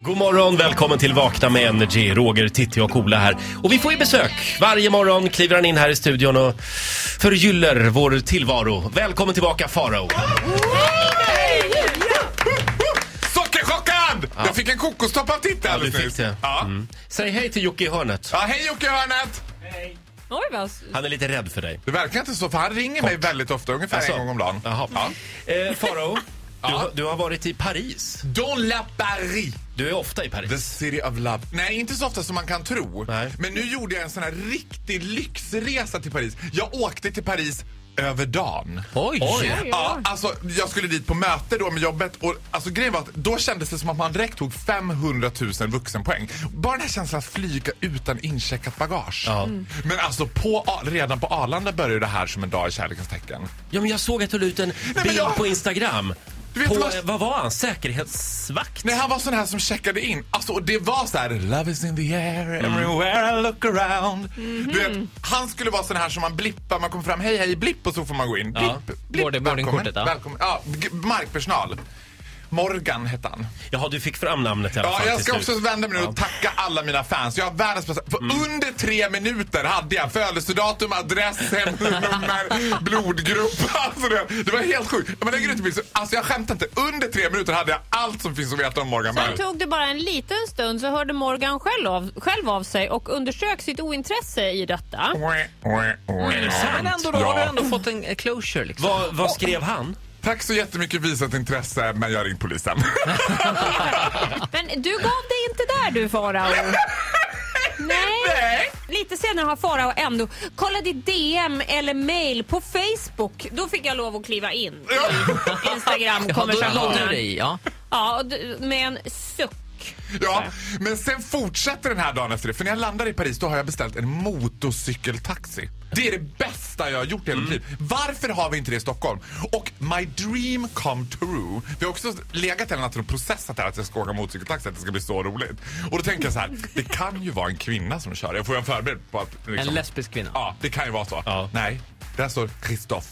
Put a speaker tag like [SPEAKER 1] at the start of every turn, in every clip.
[SPEAKER 1] God morgon, välkommen till Vakna med Energy. Roger, Titti och Ola här. Och vi får ju besök. Varje morgon kliver han in här i studion och förgyller vår tillvaro. Välkommen tillbaka Farao.
[SPEAKER 2] Sockerchockad! Jag fick en kokostopp av Titti
[SPEAKER 1] du
[SPEAKER 2] alldeles
[SPEAKER 1] fick
[SPEAKER 2] nyss.
[SPEAKER 1] det. Mm.
[SPEAKER 2] Ja.
[SPEAKER 1] Säg hej till Jocke i hörnet.
[SPEAKER 2] ja, hej Jocke Hörnet!
[SPEAKER 3] Oj, vad...
[SPEAKER 1] Han är lite rädd för dig.
[SPEAKER 2] Det verkar inte så, för han ringer mig väldigt ofta, ungefär
[SPEAKER 1] Alltså.
[SPEAKER 2] en gång om dagen.
[SPEAKER 1] Jaha.
[SPEAKER 2] Ja.
[SPEAKER 1] Eh, Farao,
[SPEAKER 2] Ja.
[SPEAKER 1] du, du har varit i Paris.
[SPEAKER 2] Dans la Paris,
[SPEAKER 1] Du är ofta i Paris.
[SPEAKER 2] the city of love. Nej, inte så ofta som man kan tro.
[SPEAKER 1] Nej.
[SPEAKER 2] Men nu gjorde jag en sån här riktig lyxresa till Paris. Jag åkte till Paris över dagen.
[SPEAKER 1] Oj!
[SPEAKER 2] Ja, alltså, jag skulle dit på möte då med jobbet och alltså, grejen var att då kändes det som att man direkt tog 500 000 vuxenpoäng. Bara den här känslan att flyga utan incheckat bagage.
[SPEAKER 1] Ja. Mm.
[SPEAKER 2] Men alltså på, redan på Arlanda började det här som en dag i kärlekens tecken.
[SPEAKER 1] Ja, men jag såg att du la ut en
[SPEAKER 2] men
[SPEAKER 1] bild
[SPEAKER 2] jag-
[SPEAKER 1] på Instagram.
[SPEAKER 2] Du vet
[SPEAKER 1] på,
[SPEAKER 2] vad-
[SPEAKER 1] eh, vad var han? Säkerhetsvakt?
[SPEAKER 2] Nej, han var sån här som checkade in. Alltså, och det var så här: love is in the air,
[SPEAKER 1] Mm.
[SPEAKER 2] everywhere I look around. Du vet, han skulle vara sån här som man blippar, man kommer fram, hej hej, blipp och så får man gå in. Blipp,
[SPEAKER 1] Ja.
[SPEAKER 2] blipp,
[SPEAKER 4] Boarding-
[SPEAKER 2] välkommen.
[SPEAKER 4] boardingkortet, ja.
[SPEAKER 2] välkommen. Ja, g- markpersonal. Morgan hette han.
[SPEAKER 1] Jaha, du fick fram namnet i alla
[SPEAKER 2] Ja,
[SPEAKER 1] fall
[SPEAKER 2] jag
[SPEAKER 1] till
[SPEAKER 2] ska
[SPEAKER 1] slut.
[SPEAKER 2] också vända mig nu och tacka alla mina fans. Jag har världens bästa... För under tre minuter hade jag födelsedatum, adress, hemnummer, blodgrupp. Alltså det, det var helt sjukt. Men lägger ut en bild så- Alltså jag skämtar inte. Under tre minuter hade jag allt som finns att veta om Morgan
[SPEAKER 3] Sen
[SPEAKER 2] Berg.
[SPEAKER 3] tog det bara en liten stund så hörde Morgan själv av, själv av sig och undersök sitt ointresse i detta.
[SPEAKER 1] Är det
[SPEAKER 4] Men
[SPEAKER 1] sant?
[SPEAKER 4] ändå, då har
[SPEAKER 2] Ja.
[SPEAKER 4] du ändå fått en eh, closure liksom.
[SPEAKER 1] Vad, vad skrev han?
[SPEAKER 2] Tack så jättemycket för visat intresse, men jag har ringt polisen.
[SPEAKER 3] Men du gav dig inte där du Farao. Nej.
[SPEAKER 2] Nej.
[SPEAKER 3] Lite senare har Farao ändå kollat i DM eller mail på Facebook. Då fick jag lov att kliva in i
[SPEAKER 4] Ja, då låg du
[SPEAKER 3] Instagram-konversationen.
[SPEAKER 4] dig ja.
[SPEAKER 3] Ja, och d- med en suck.
[SPEAKER 2] Ja, men sen fortsätter den här dagen efter det. För när jag landar i Paris då har jag beställt en motorcykeltaxi. Det är det bästa jag har gjort i hela mitt
[SPEAKER 4] Mm.
[SPEAKER 2] liv. Varför har vi inte det i Stockholm? Och my dream come true. Vi har också legat hela natten och processat det här att jag ska åka motorcykeltaxi, att det ska bli så roligt. Och då tänker jag så här, det kan ju vara en kvinna som kör. Jag får ju en förberedd på att... liksom-
[SPEAKER 4] En lesbisk kvinna.
[SPEAKER 2] Ja, det kan ju vara så.
[SPEAKER 1] Ja.
[SPEAKER 2] Nej, där står Kristoff.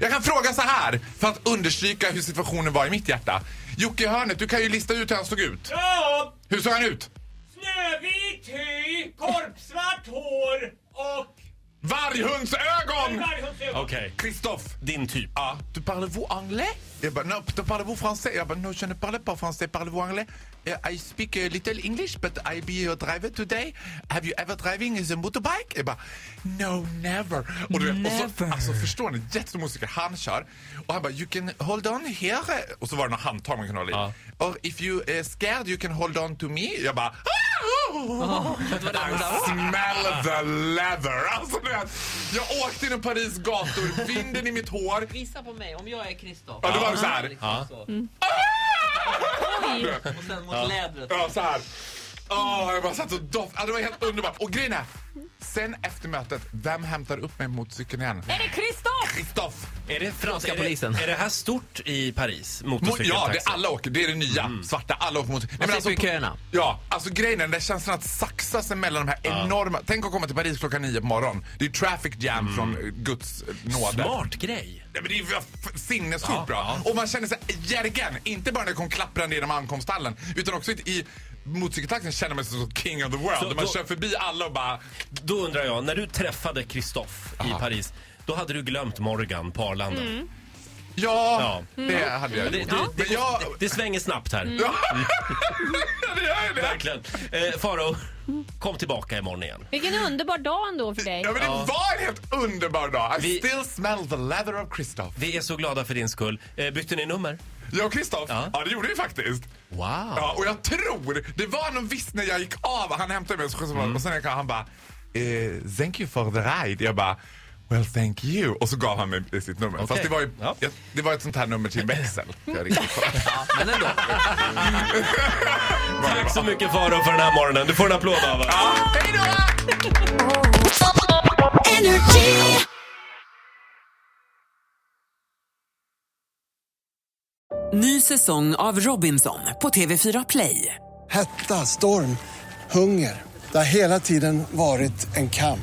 [SPEAKER 2] Jag kan fråga så här, för att understryka hur situationen var i mitt hjärta. Jocke Hörnet, du kan ju lista ut hur han såg ut.
[SPEAKER 5] Ja,
[SPEAKER 2] Hur såg han ut?
[SPEAKER 5] snövit hy, korpsvart hår och
[SPEAKER 2] Varghundsögon!
[SPEAKER 5] varghundsögon.
[SPEAKER 1] Okej.
[SPEAKER 2] Kristoff!
[SPEAKER 1] Din typ.
[SPEAKER 2] Ja, du parlez-vous anglais? Jag bara, Ah. Eh non, tu parlez-vous français? Jag bara, non, je ne parle pas français, parlez-vous anglais? Eh, I speak a little English, but I be your driver today. Have you ever driving as a motorbike? Jag bara, no, never. Och, du vet, och så,
[SPEAKER 4] Never.
[SPEAKER 2] alltså förstår ni, jättestor musiker, han kör. Och han bara, you can hold on here. Och så var det några handtag man kunde hålla i. Or if you eh, scared you can hold on to me. Jag bara, "Ah!" I smell the leather! Alltså, du vet, jag åkte genom Paris gator, vinden i mitt hår.
[SPEAKER 4] Visa på mig om jag är Kristoff. liksom
[SPEAKER 2] Ja, det var så här.
[SPEAKER 4] Ah! Och sen mot lädret.
[SPEAKER 2] Ja, så här. Åh, jag bara satt och doft. Ja, det var helt underbart. Och grejen är, sen efter mötet, vem hämtar upp mig mot cykeln igen?
[SPEAKER 3] Är det Kristoff?
[SPEAKER 2] Kristoff!
[SPEAKER 1] Är det franska
[SPEAKER 4] polisen.
[SPEAKER 1] Är det här stort i Paris?
[SPEAKER 2] Mo- Ja, det
[SPEAKER 1] Motorcykeltaxi?
[SPEAKER 2] är alla åker. Det är det nya. Svarta, alla åker mot... Nej,
[SPEAKER 4] slipper Mm. ju köerna.
[SPEAKER 2] Ja, alltså grejen är den där känslan att saxa sig mellan de här enorma... Tänk att komma till Paris klockan nio på morgonen. Det är traffic jam
[SPEAKER 4] Mm.
[SPEAKER 2] från eh, Guds eh, nåde.
[SPEAKER 1] Smart grej.
[SPEAKER 2] Nej, men det är ju f- sinnessjukt
[SPEAKER 1] Ja,
[SPEAKER 2] bra.
[SPEAKER 1] ja.
[SPEAKER 2] Och man känner sig järgen. Inte bara när jag kom klapprande genom ankomsthallen utan också i motorcykeltaxin känner man sig som king of the world.
[SPEAKER 1] Så
[SPEAKER 2] man
[SPEAKER 1] då-
[SPEAKER 2] kör förbi alla och bara...
[SPEAKER 1] Då undrar jag, när du träffade Christophe i Paris, då hade du glömt Morgan på Arlanda.
[SPEAKER 2] Mm. Ja, det hade jag
[SPEAKER 1] Men Mm. Det,
[SPEAKER 2] gjort.
[SPEAKER 1] det, det,
[SPEAKER 2] Men jag... Mm.
[SPEAKER 1] det, det svänger snabbt här.
[SPEAKER 2] Ja, det gör ju det.
[SPEAKER 1] Verkligen. Eh, Faro, kom tillbaka imorgon igen.
[SPEAKER 3] Vilken underbar dag ändå för dig.
[SPEAKER 2] Ja, men det var en helt underbar dag. I
[SPEAKER 1] Vi-
[SPEAKER 2] still smell the leather of Christoph.
[SPEAKER 1] Vi är så glada för din skull. Eh, bytte ni nummer?
[SPEAKER 2] Jag och Kristoff,
[SPEAKER 1] Ja.
[SPEAKER 2] ja. det gjorde vi faktiskt.
[SPEAKER 1] Wow.
[SPEAKER 2] Ja, och jag tror, det var någon viss när jag gick av, han hämtade mig och så-
[SPEAKER 1] Mm.
[SPEAKER 2] och sen gick han, han bara eh, “Thank you for the ride”. Jag bara “Well, thank you” och så gav han mig sitt nummer.
[SPEAKER 1] Okej.
[SPEAKER 2] Fast det var, ju,
[SPEAKER 1] Ja.
[SPEAKER 2] jag, det var ett sånt här nummer till växel. Jag ringde på.
[SPEAKER 4] Men ändå.
[SPEAKER 1] Tack så mycket Faro för den här morgonen. Du får en applåd av oss.
[SPEAKER 2] Hej då!
[SPEAKER 6] Ny säsong av Robinson på TV4 Play.
[SPEAKER 7] Hetta, storm, hunger. Det har hela tiden varit en kamp.